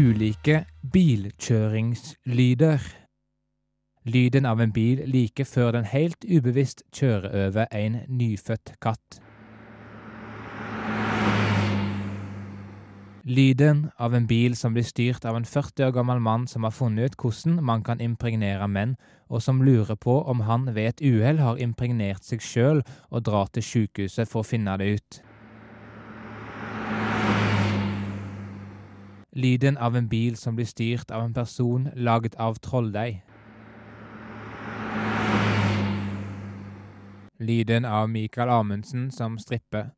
Ulike bilkjøringslyder. Lyden av en bil like før den helt ubevisst kjører over en nyfødt katt. Lyden av en bil som blir styrt av en 40 år gammel mann som har funnet ut hvordan man kan impregnere menn, og som lurer på om han ved et uhell har impregnert seg sjøl og drar til sjukehuset for å finne det ut. Lyden av en bil som blir styrt av en person laget av trolldeig. Lyden av Mikael Amundsen som stripper.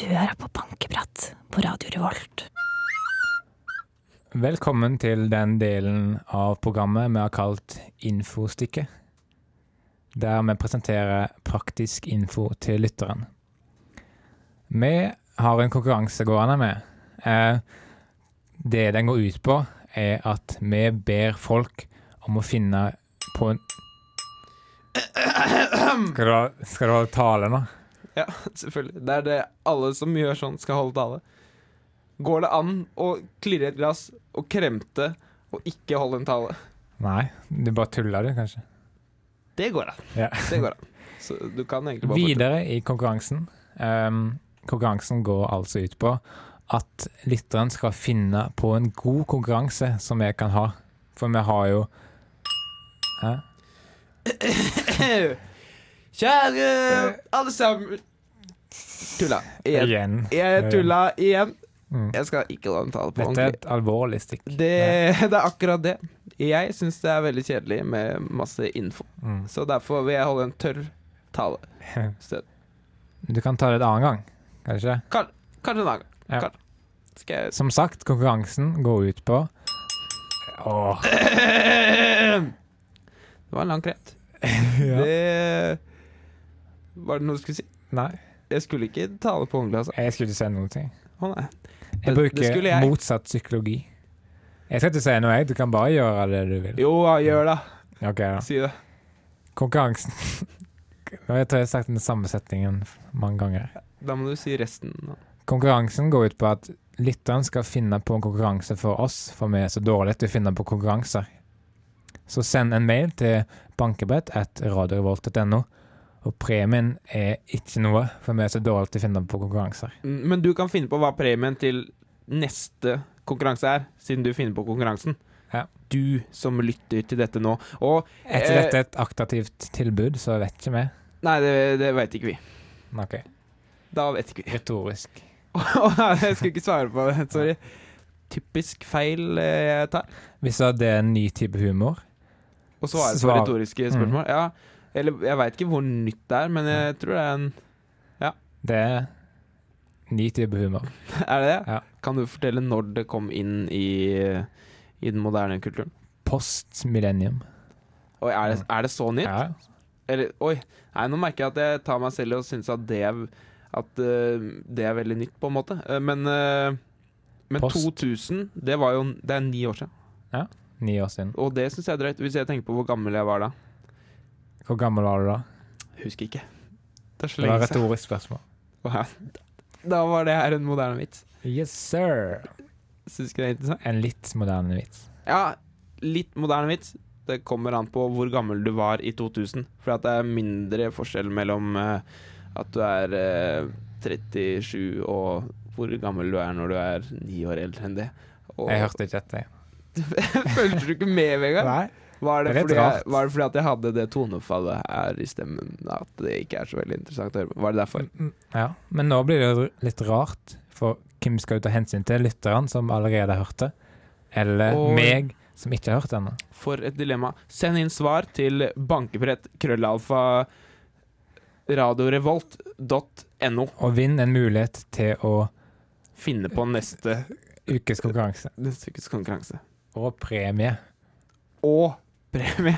Du hører på Bankeprat på Radio Revolt. Velkommen til den delen av programmet vi har kalt Infostikket. Der vi presenterer praktisk info til lytteren. Vi har en konkurranse gående med. Eh, Det den går ut på, er at vi ber folk om å finne på en Skal du ha, skal du ha tale nå? Ja, selvfølgelig. Det er det alle som gjør sånn, skal holde tale. Går det an å klirre i et glass og kremte og ikke holde en tale? Nei, du bare tuller du, kanskje? Det går an. Ja. Det går an. Så du kan egentlig bare Videre i konkurransen. Ehm, konkurransen går altså ut på at lytteren skal finne på en god konkurranse som vi kan ha. For vi har jo Hæ? fortsette. Kjære alle sammen Tulla. Igjen. Igjen. Jeg tulla igjen. Mm. Jeg skal ikke holde en tale på Dette er ordentlig. et alvorlig stikk. Det, det er akkurat det. Jeg syns det er veldig kjedelig med masse info, Mm. så derfor vil jeg holde en tørr tale. Så Du kan ta det en annen gang, kanskje? Kanskje en annen gang. Ja. Kanskje. Skal jeg Som sagt, konkurransen går ut på Åh. Det var en lang kret. Ja. Det Var det noe du skulle si? Nei, Jeg skulle ikke tale på ordentlig, altså. jeg skulle ikke si noen ting. Å nei. Jeg Det- det skulle bruker jeg. motsatt psykologi. Jeg skal ikke si noe, jeg. Du kan bare gjøre det du vil. Jo, ja, gjør det. Ok, da. Si det. Konkurransen Nå jeg tror jeg har sagt den samme setningen mange ganger. Da må du si resten. nå. Konkurransen går ut på at lytteren skal finne på en konkurranse for oss, for vi er så dårlige til å finne på konkurranser. Så send en mail til bankebrett at radiorevolt.no, og premien er ikke noe, for vi er så dårlige til å finne på konkurranser. Mm, Men du kan finne på hva premien til neste konkurranse er, siden du finner på konkurransen. Ja. Du som lytter til dette nå. Og Er ikke dette et aktivt tilbud, så vet ikke vi. Nei, det, det veit ikke vi. Ok, Da vet ikke vi. retorisk. jeg skulle ikke svare på det. Sorry. Typisk feil eh, jeg tar. Hvis det er en ny type humor Å svare på Svar. Mm. retoriske spørsmål? Ja. Eller jeg veit ikke hvor nytt det er, men Mm. jeg tror det er en Det er ny type humor. Er det det? Ja. Kan du fortelle når det kom inn i, i den moderne kulturen? Post millennium. Oi, er det, er det så nytt? Mm. Ja. Eller oi Nei, nå merker jeg at jeg tar meg selv i å synes at det er at eh, det er veldig nytt, på en måte. Eh, Men, eh, men Post. 2000, det var jo Det er ni år siden. Ni år siden. Og det syns jeg er drøyt, hvis jeg tenker på hvor gammel jeg var da. Hvor gammel var du da? Husker ikke. Det er så Det var lenge et siden. retorisk spørsmål. Wow. Da var det her en moderne vits. Yes, sir. Syns ikke det er interessant? En litt moderne vits. Ja, litt moderne vits. Det kommer an på hvor gammel du var i 2000. For at det er mindre forskjell mellom eh, at du er eh, 37 og hvor gammel du er når du er ni år eldre enn det. Og Jeg hørte ikke dette. Følte du ikke med, Vegard? Nei. Var Det det, er litt fordi jeg, rart. var det fordi at jeg hadde det tonefallet her i stemmen at det ikke er så veldig interessant å høre på? Var det derfor? Ja, men nå blir det jo litt rart, for hvem skal jo ta hensyn til? Lytteren som allerede har hørt det, eller Og- meg som ikke har hørt det ennå? For et dilemma. Send inn svar til bankebrett krøllalfa radiorevolt.no. Og vinn en mulighet til å Finne på neste ukes konkurranse Neste ukes konkurranse. og premie. Og premie.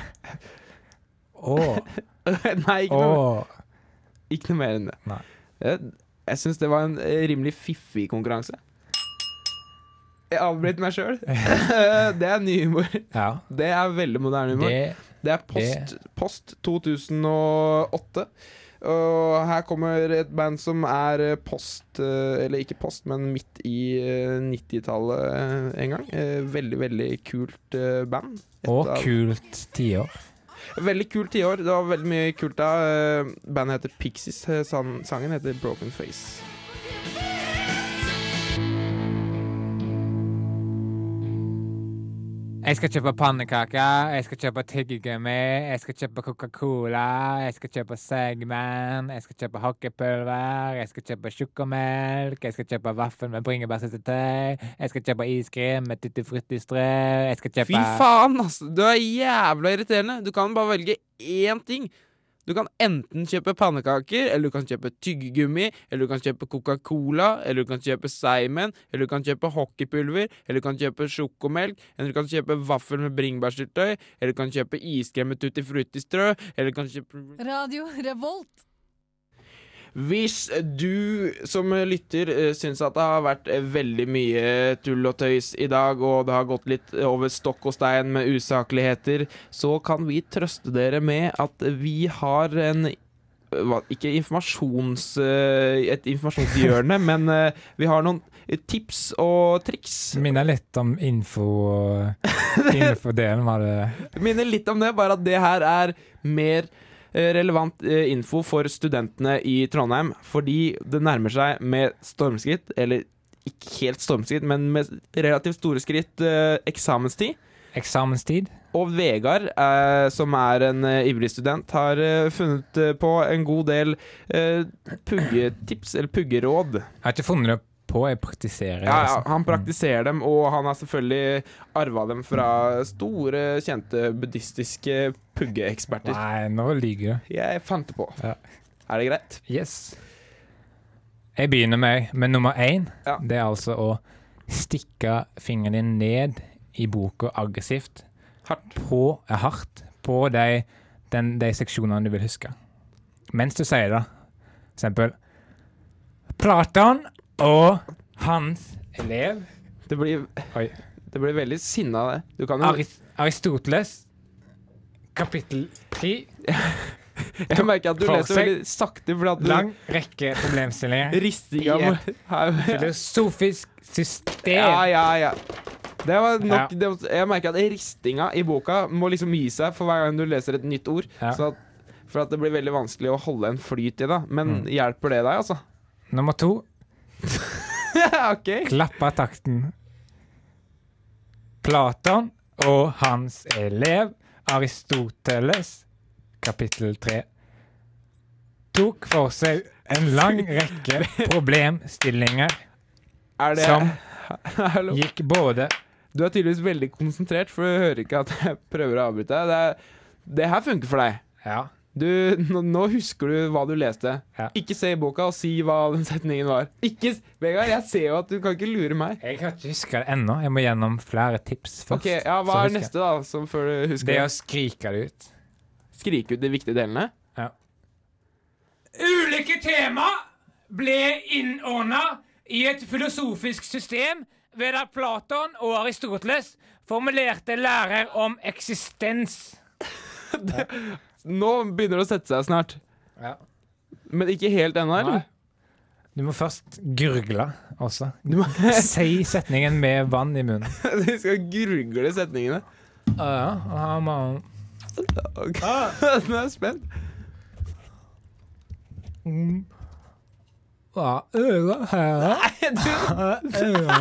Og, Nei, ikke noe, og ikke noe mer enn det. Nei. Jeg, jeg syns det var en eh, rimelig fiffig konkurranse. Jeg avbryter meg sjøl. det er ny humor. Ja. Det er veldig moderne humor. Det, Det er post, post 2008. Og her kommer et band som er eh, post eh, Eller ikke post, men midt i eh, 90-tallet eh, en gang. Eh, Veldig, veldig kult eh, band. Et og av- kult tiår. Veldig kult tiår. Det var veldig mye kult da. Eh, Bandet heter Pixies. Eh, san- Sangen heter Broken Face. Jeg skal kjøpe pannekaker, jeg skal kjøpe tyggegummi, jeg skal kjøpe Coca-Cola, jeg skal kjøpe Segman, jeg skal kjøpe hockeypulver, jeg skal kjøpe sjokomelk, jeg skal kjøpe vaffel med bringebærsyltetøy, jeg skal kjøpe iskrem med tutti frutti-strø, jeg skal kjøpe Fy faen, altså! Du er jævla irriterende. Du kan bare velge én ting. Du kan enten kjøpe pannekaker, eller du kan kjøpe tyggegummi, eller du kan kjøpe Coca-Cola, eller du kan kjøpe Simon, eller du kan kjøpe hockeypulver, eller du kan kjøpe sjokomelk, eller du kan kjøpe vaffel med bringebærsyltetøy, eller du kan kjøpe iskrem med tutti frutti-strø, eller du kan kjøpe Radio Revolt. Hvis du som lytter eh, syns at det har vært eh, veldig mye tull og tøys i dag, og det har gått litt over stokk og stein med usakligheter, så kan vi trøste dere med at vi har en eh, hva, ikke informasjons, eh, et informasjonshjørne, men eh, vi har noen tips og triks. Minner litt om info infodelen, var det Minner litt om det, bare at det her er mer eh, relevant eh, info for studentene i Trondheim, fordi det nærmer seg med stormskritt, eller ikke helt stormskritt, men med relativt store skritt, eh, eksamenstid. eksamenstid? Og Vegard, eh, som er en eh, ivrig student, har eh, funnet eh, på en god del eh, puggetips, eller puggeråd. Jeg har ikke funnet det på, jeg praktiserer. Ja, ja, altså. han praktiserer dem, og han har selvfølgelig arva dem fra store, kjente buddhistiske puggeeksperter. altså. Nei, nå lyver du. Jeg fant det på. Ja. Er det greit? Yes. Jeg begynner med, med nummer én. Ja. Det er altså å stikke fingeren din ned i boka aggressivt. Hardt. På, ja, hardt på de, den, de seksjonene du vil huske. Mens du sier det. For eksempel Platon og hans elev Det blir, Oi. det blir veldig sinna, det. Du kan jo, Aris- Aristoteles, kapittel tre. Mm. jeg merker at du for leser seg- veldig sakte, fordi at du Lang rekke problemstillinger. ristinger i må- et her. Filosofisk system. Ja, ja, ja. Det var nok, Ja. det, var- jeg merker at ristinga i boka må liksom gi seg for hver gang du leser et nytt ord. Ja. Så at, for at det blir veldig vanskelig å holde en flyt i det. Men Mm. hjelper det deg, altså? Nummer to OK. klappa takten. Platon og hans elev Aristoteles, kapittel tre, tok for seg en lang rekke problemstillinger Er det som Hallo? gikk både Du er tydeligvis veldig konsentrert, for du hører ikke at jeg prøver å avbryte deg. Det, er- det her funker for deg. Ja. Du, nå, nå husker du hva du leste. Ja. Ikke se i boka og si hva den setningen var. Ikke, s- Vegard, jeg ser jo at du kan ikke lure meg. Jeg kan ikke huske det ennå. Jeg må gjennom flere tips først. Ok, ja, Hva så er husker jeg. neste, da? Som før du husker Det det å skrike det ut. Skrike ut de viktige delene? Ulike tema ble innordna i et filosofisk system ved at Platon og Aristoteles formulerte lærer om eksistens. Nå begynner det å sette seg snart. Ja. Men ikke helt ennå, eller? Du må først gurgle også. Si setningen med vann i munnen. Du skal gurgle setningene. ja, Ok. Nå er jeg spent.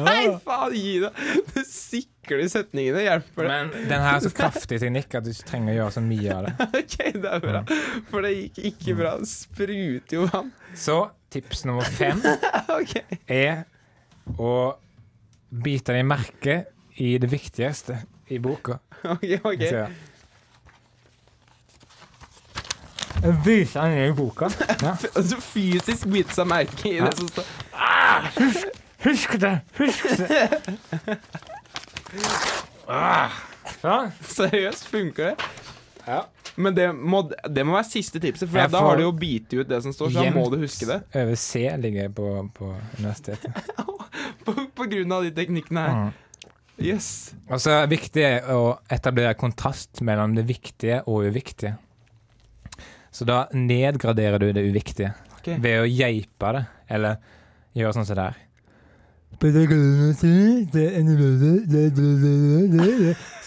Nei, faen, gi deg! Du sikler setningene. Hjelper det? Men den her er så kraftig teknikk at du ikke trenger å gjøre så mye av det. OK, det er bra. For det gikk ikke bra. Det spruter jo vann. Så tips nummer fem OK. er å bite deg merke i det viktigste i boka. ok, ok Okay. Bite deg ned i boka. Ja. Altså fysisk bite seg merke i det som står Husk det! Husk det! Ah, sånn. Seriøst, funker det? Ja. Men det må, det må være siste tipset, for Jeg da får- har du jo biti ut det som står, så da må Gjemt du huske det. Over C ligger jeg på, på universitetet. På, på grunn av de teknikkene her. Mm. Yes. Og så Altså, er det viktig å etablere kontrast mellom det viktige og uviktige. Så da nedgraderer du det uviktige Ok. ved å geipe det, eller gjøre sånn som det her. Så det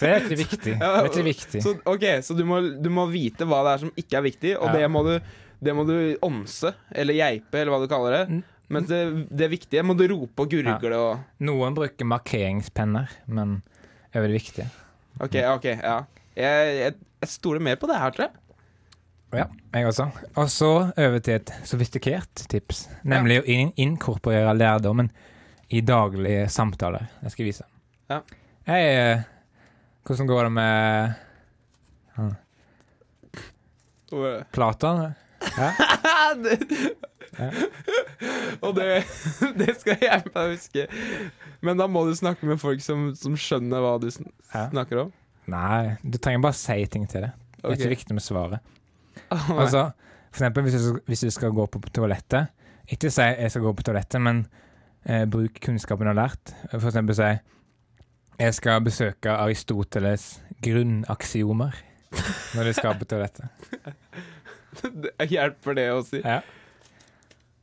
er ikke viktig. Det er ikke viktig. Så, ok, så du må, du må vite hva det er som ikke er viktig, og Ja. det, må du, det må du ånse, eller geipe, eller hva du kaller det. Mm. Mens det, det viktige må du rope og gurgle og Noen bruker markeringspenner, men over det viktige. OK, ok, ja. Jeg, jeg, jeg stoler mer på det her, tror jeg. Ja, jeg også. Og så over til et sofistikert tips, nemlig å in inkorporere lærdommen i daglige samtaler. Jeg skal vise. Ja. Hei, eh, hvordan går det med Og- Platon? Det- Og det, det skal jeg bare huske. Men da må du snakke med folk som, som skjønner hva du sn Ja. snakker om. Nei, du trenger bare si ting til det. Det er Ok. ikke viktig med svaret. Å, nei. Altså, for eksempel hvis du, hvis du skal gå på toalettet, ikke si 'jeg skal gå på toalettet', men eh, bruk kunnskapen du har lært. For eksempel si 'jeg skal besøke Aristoteles grunnaksiomer' når du skal på toalettet. Det hjelper det å si. Ja.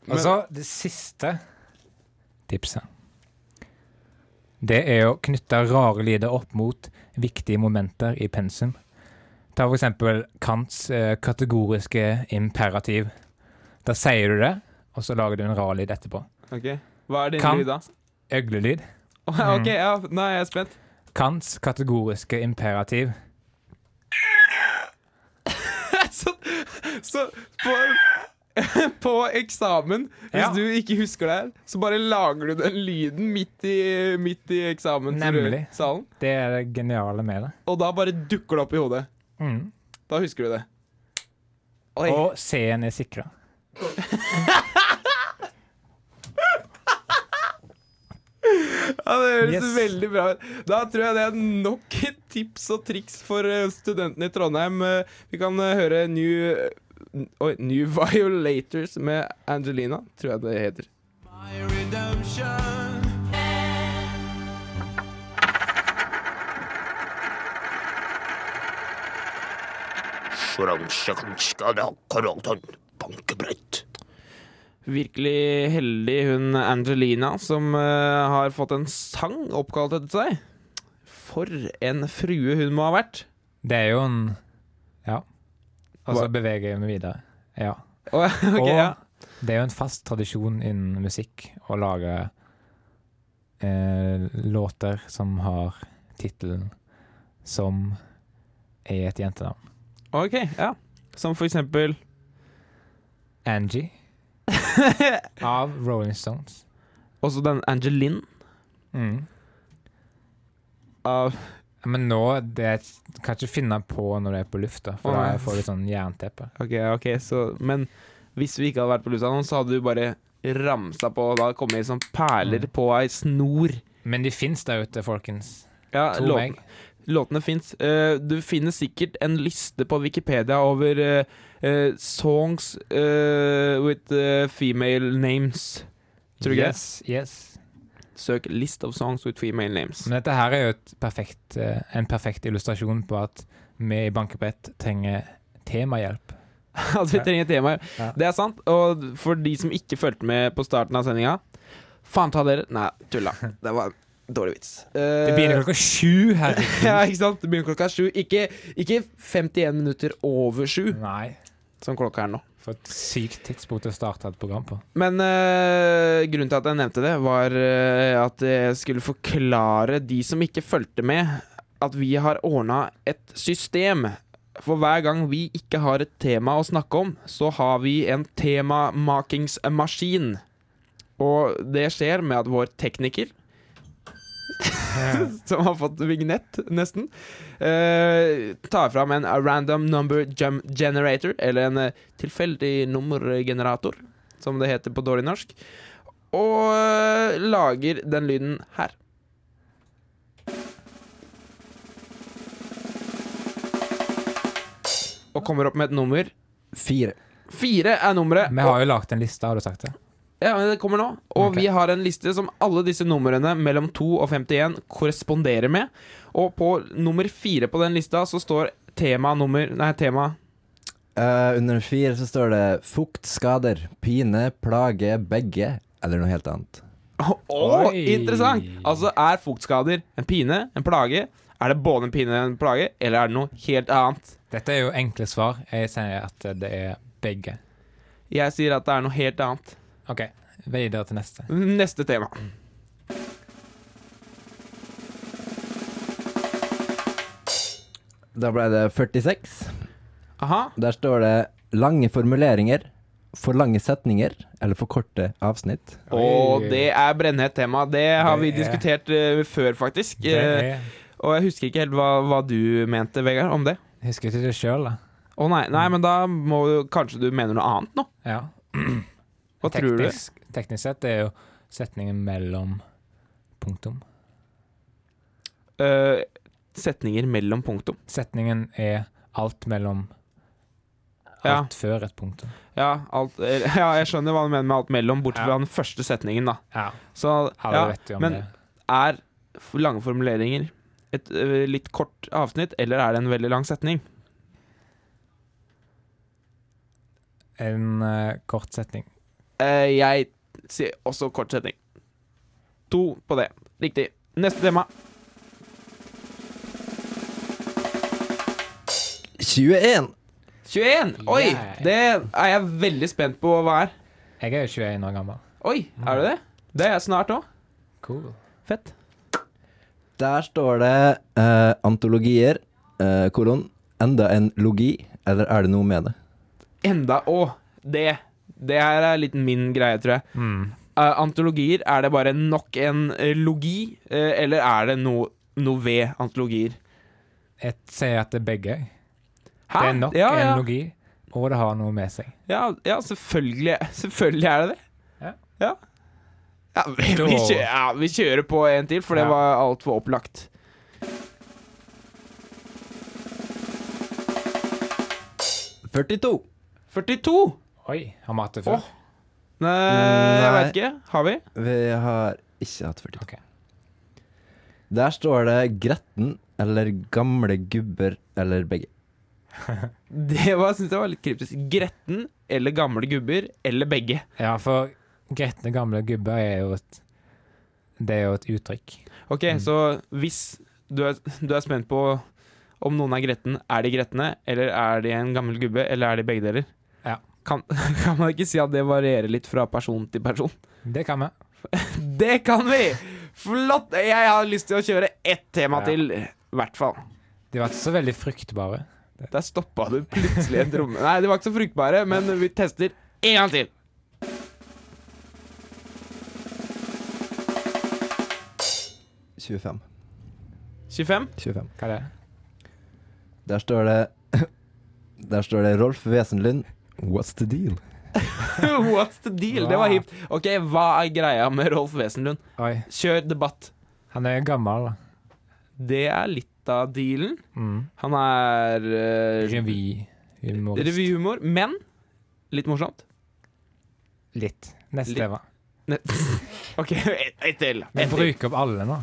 Men- Og så det siste tipset. Det er å knytte rare lyder opp mot viktige momenter i pensum. Ta for eksempel Kants eh, kategoriske imperativ. Da sier du det, og så lager du en rar lyd etterpå. Ok. Hva er din Kan- lyd, da? Øglelyd. Å, ja, ok, ja, nå er jeg spent. Kants kategoriske imperativ. Så, så på, på eksamen, hvis Ja. du ikke husker det her, så bare lager du den lyden midt i, midt i Nemlig. eksamenssalen. Det er det geniale med det. Og da bare dukker det opp i hodet. Mm. Da husker du det. Oi. Og C-en er sikra. Ja, Det høres Yes. veldig bra ut. Da tror jeg det er nok et tips og triks for eh, studentene i Trondheim. Eh, Vi kan eh, høre New, eh, oi, New Violators med Angelina, tror jeg det heter. Bankebrett. Virkelig heldig hun Angelina som eh, har fått en sang oppkalt etter seg. For en frue hun må ha vært. Det er jo en Ja. Og så Hva- beveger jeg meg videre. Ja. Å, ok, og ja. det er jo en fast tradisjon innen musikk å lage eh, låter som har tittelen som er et jentenavn. ok, ja. Som for eksempel Angie av Rolling Stones. også den Angelin Mm. av Men nå det er, kan jeg ikke finne på når du er på lufta, for da får jeg litt sånn jernteppe. Ok, ok, så Men hvis vi ikke hadde vært på Lufthavn, så hadde du bare ramsa på og da kommet som Mm. perler på ei snor. Men de fins der ute, folkens. Ja, Tro låten, meg. låtene fins. Eh, du finner sikkert en liste på Wikipedia over eh, eh, songs eh, with eh, female names. Tror du ikke det? yes, yes. Søk 'list of songs with female names'. Men dette her er jo et perfekt, eh, en perfekt illustrasjon på at vi i Bankebrett trenger temahjelp. At Altså, vi trenger tema. Ja. Det er sant. Og for de som ikke fulgte med på starten av sendinga Faen ta dere. Nei, tulla. Det var en dårlig vits. Eh, Det begynner klokka sju her. Ja, ikke sant? Det begynner klokka sju. Ikke, ikke 51 minutter over sju, Nei. som klokka er nå. For et sykt tidspunkt å starte et program på. Men eh, grunnen til at jeg nevnte det, var eh, at jeg skulle forklare de som ikke fulgte med, at vi har ordna et system. For hver gang vi ikke har et tema å snakke om, så har vi en temamakingsmaskin. Og det skjer med at vår tekniker som har fått vignett, nesten. Eh, tar fram en random number gem generator, eller en eh, tilfeldig nummergenerator, som det heter på dårlig norsk, og eh, lager den lyden her. og kommer opp med et nummer. Fire. Fire er nummeret. Vi har jo lagt en liste, har du sagt det? Ja, men det kommer nå. Og Ok. vi har en liste som alle disse numrene mellom 2 og 51 korresponderer med. Og på nummer fire på den lista så står tema nummer Nei, tema Eh, under fire så står det fukt, skader, pine, plage, begge, eller noe helt annet. Å, Oi. interessant! Altså, er fuktskader en pine, en plage? Er det både en pine og en plage, eller er det noe helt annet? Dette er jo enkle svar. Jeg sier at det er begge. Jeg sier at det er noe helt annet. OK, videre til neste. Neste tema. Da ble det 46. Aha. Der står det lange formuleringer, for lange setninger, eller for korte avsnitt. Og Oi. det er brennhett tema. Det har Det vi er- diskutert eh, før, faktisk. Det Eh, er, og jeg husker ikke helt hva, hva du mente, Vegard, om det. jeg husker ikke det sjøl, da. Å nei, nei, men da må du kanskje du mener noe annet nå? Ja. Hva tror du? teknisk, tror du? Teknisk sett er jo setningen mellom punktum. Eh, setninger mellom punktum. Setningen er alt mellom Ja. Alt før et punktum. Ja, alt, eh, ja, jeg skjønner hva du mener med alt mellom, bort Ja. fra den første setningen, da. Ja, Så alle ja, vet jo om men- det. er f- lange formuleringer et eh, litt kort avsnitt, eller er det en veldig lang setning? En eh, kort setning. Eh, jeg sier også kort setning. To på det. Riktig. Neste tema. 21! 21! Oi! Yeah. Det er jeg veldig spent på hva er. Jeg er jo 21 år gammel. Oi, er du det? Det er jeg snart òg. Cool. Fett. Der står det eh, antologier, eh, kolon, enda en logi, eller er det noe med det? Enda òg. Det. Det her er litt min greie, tror jeg. Mm. Eh, antologier, er det bare nok en eh, logi, eh, eller er det no, noe ved antologier? Jeg sier at det er begge. Hæ? Det er nok ja, ja. en logi, og det har noe med seg. Ja, ja selvfølgelig, selvfølgelig er det det. Ja. Ja, Ja, vi, Da- vi, kjører, ja, vi kjører på en til, for det Ja. var altfor opplagt. 42! 42! Oi, har vi hatt det før? Åh. Nei, jeg Nei. veit ikke. Har vi? Vi har ikke hatt 42. Ok. Der står det gretten, eller gamle gubber, eller begge. Det var, synes jeg var litt kryptisk. Gretten eller gamle gubber eller begge. Ja, for gretne gamle gubber er jo et Det er jo et uttrykk. Ok, Mm. så hvis du er, du er spent på om noen er gretten, er de gretne, eller er de en gammel gubbe, eller er de begge deler? Ja. Kan, kan man ikke si at det varierer litt fra person til person? Det kan vi. Det kan vi! Flott! Jeg har lyst til å kjøre ett tema Ja. til, i hvert fall. De var ikke så veldig fruktbare. Der stoppa du plutselig et rom. Nei, de var ikke så fruktbare, men vi tester en gang til. 25. 25? 25. Hva er det? Der står det Der står det Rolf Wesenlund. What's the deal? What's the deal? Det var hipt. Ok, hva er greia med Rolf Wesenlund? Oi, Kjør debatt. han er gammel. da. Det er litt av dealen. Mm. Han er eh, Revyhumorist. revyhumor, men litt morsomt. Litt. Neste Litt. tema. Ne- OK, ett et til. Vi Ett til. bruker opp alle nå.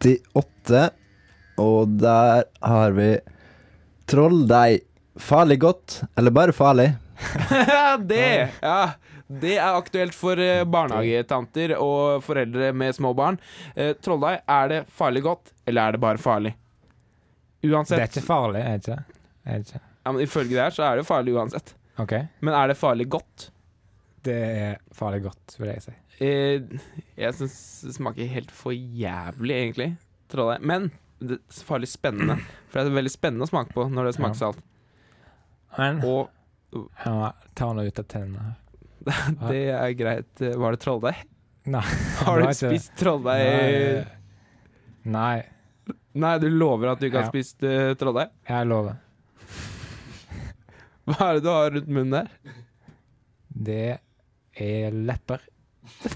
38. Og der har vi Troll deg farlig godt, eller bare farlig. det, ja, det er aktuelt for eh, barnehagetanter og foreldre med små barn. Eh, Trolldeig, er det farlig godt, eller er det bare farlig? Det er Uansett. ikke farlig, er det ikke? Er det ikke? Ja, men ifølge det her så er det jo farlig uansett. OK. Men er det farlig godt? Det er farlig godt, vil jeg si. Eh, jeg syns det smaker helt for jævlig, egentlig. Trolldeig. Men det er farlig spennende. For det er veldig spennende å smake på når det Ja. smaker salt. Men Og jeg må ta noe ut av tennene. her. det er greit. Var det trolldeig? Nei, Har det du var ikke- spist trolldeig? Nei. Nei, Nei, du lover at du ikke har Ja. spist uh, trolldeig? jeg lover. Hva er det du har rundt munnen der? Det er lepper.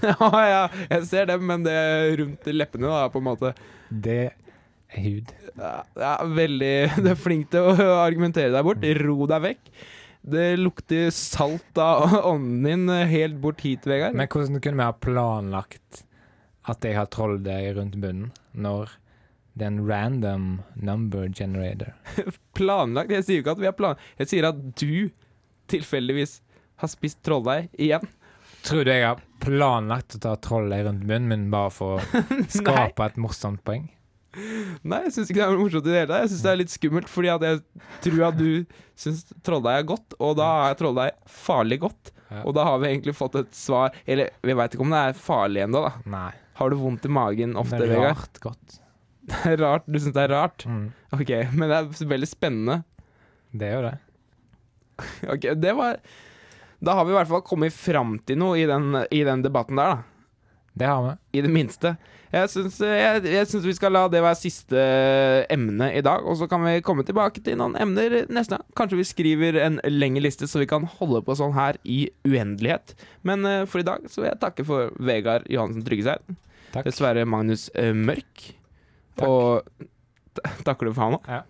ja, ja, jeg ser det, men det er rundt leppene da, på en måte. Det hud. Ja, ja, veldig Du er flink til å argumentere deg bort. Ro deg vekk. Det lukter salt av ånden din helt bort hit, Vegard. Men hvordan kunne vi ha planlagt at jeg har trolldeig rundt bunnen, når det er en random number generator? planlagt Jeg sier jo ikke at vi har plan... Jeg sier at du tilfeldigvis har spist trolldeig igjen. Tror du jeg har planlagt å ta trolldeig rundt bunnen, men bare for å Nei, skape et morsomt poeng? nei, jeg syns ikke det er morsomt i det hele tatt. Jeg syns det er litt skummelt, fordi at jeg tror at du syns trolldeig er godt, og da er trolldeig farlig godt. Ja. Og da har vi egentlig fått et svar Eller vi veit ikke om det er farlig ennå, da. Nei. Har du vondt i magen ofte, det er Vegard? rart godt. Det er rart. Du syns det er rart? Mm. Ok, men det er veldig spennende. Det er jo det. Ok, det var Da har vi i hvert fall kommet fram til noe i den, i den debatten der, da. Det har vi. I det minste. Jeg syns, jeg, jeg syns vi skal la det være siste eh, emne i dag, og så kan vi komme tilbake til noen emner neste gang. Kanskje vi skriver en lengre liste, så vi kan holde på sånn her i uendelighet. Men eh, for i dag så vil jeg takke for Vegard Johansen Tryggeseid. Takk. Dessverre Magnus eh, Mørk. Takk. Og t- takker du for han òg? Ja.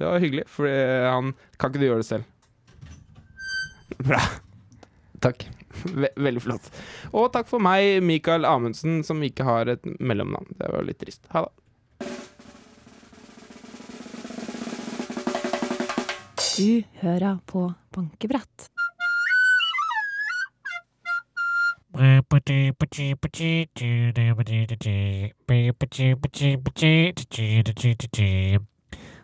Det var hyggelig, for han Kan ikke du gjøre det selv? Bra. Takk. Ve veldig flott. Og takk for meg, Mikael Amundsen, som ikke har et mellomnavn. Det var litt trist. Ha det. Du hører på bankebrett.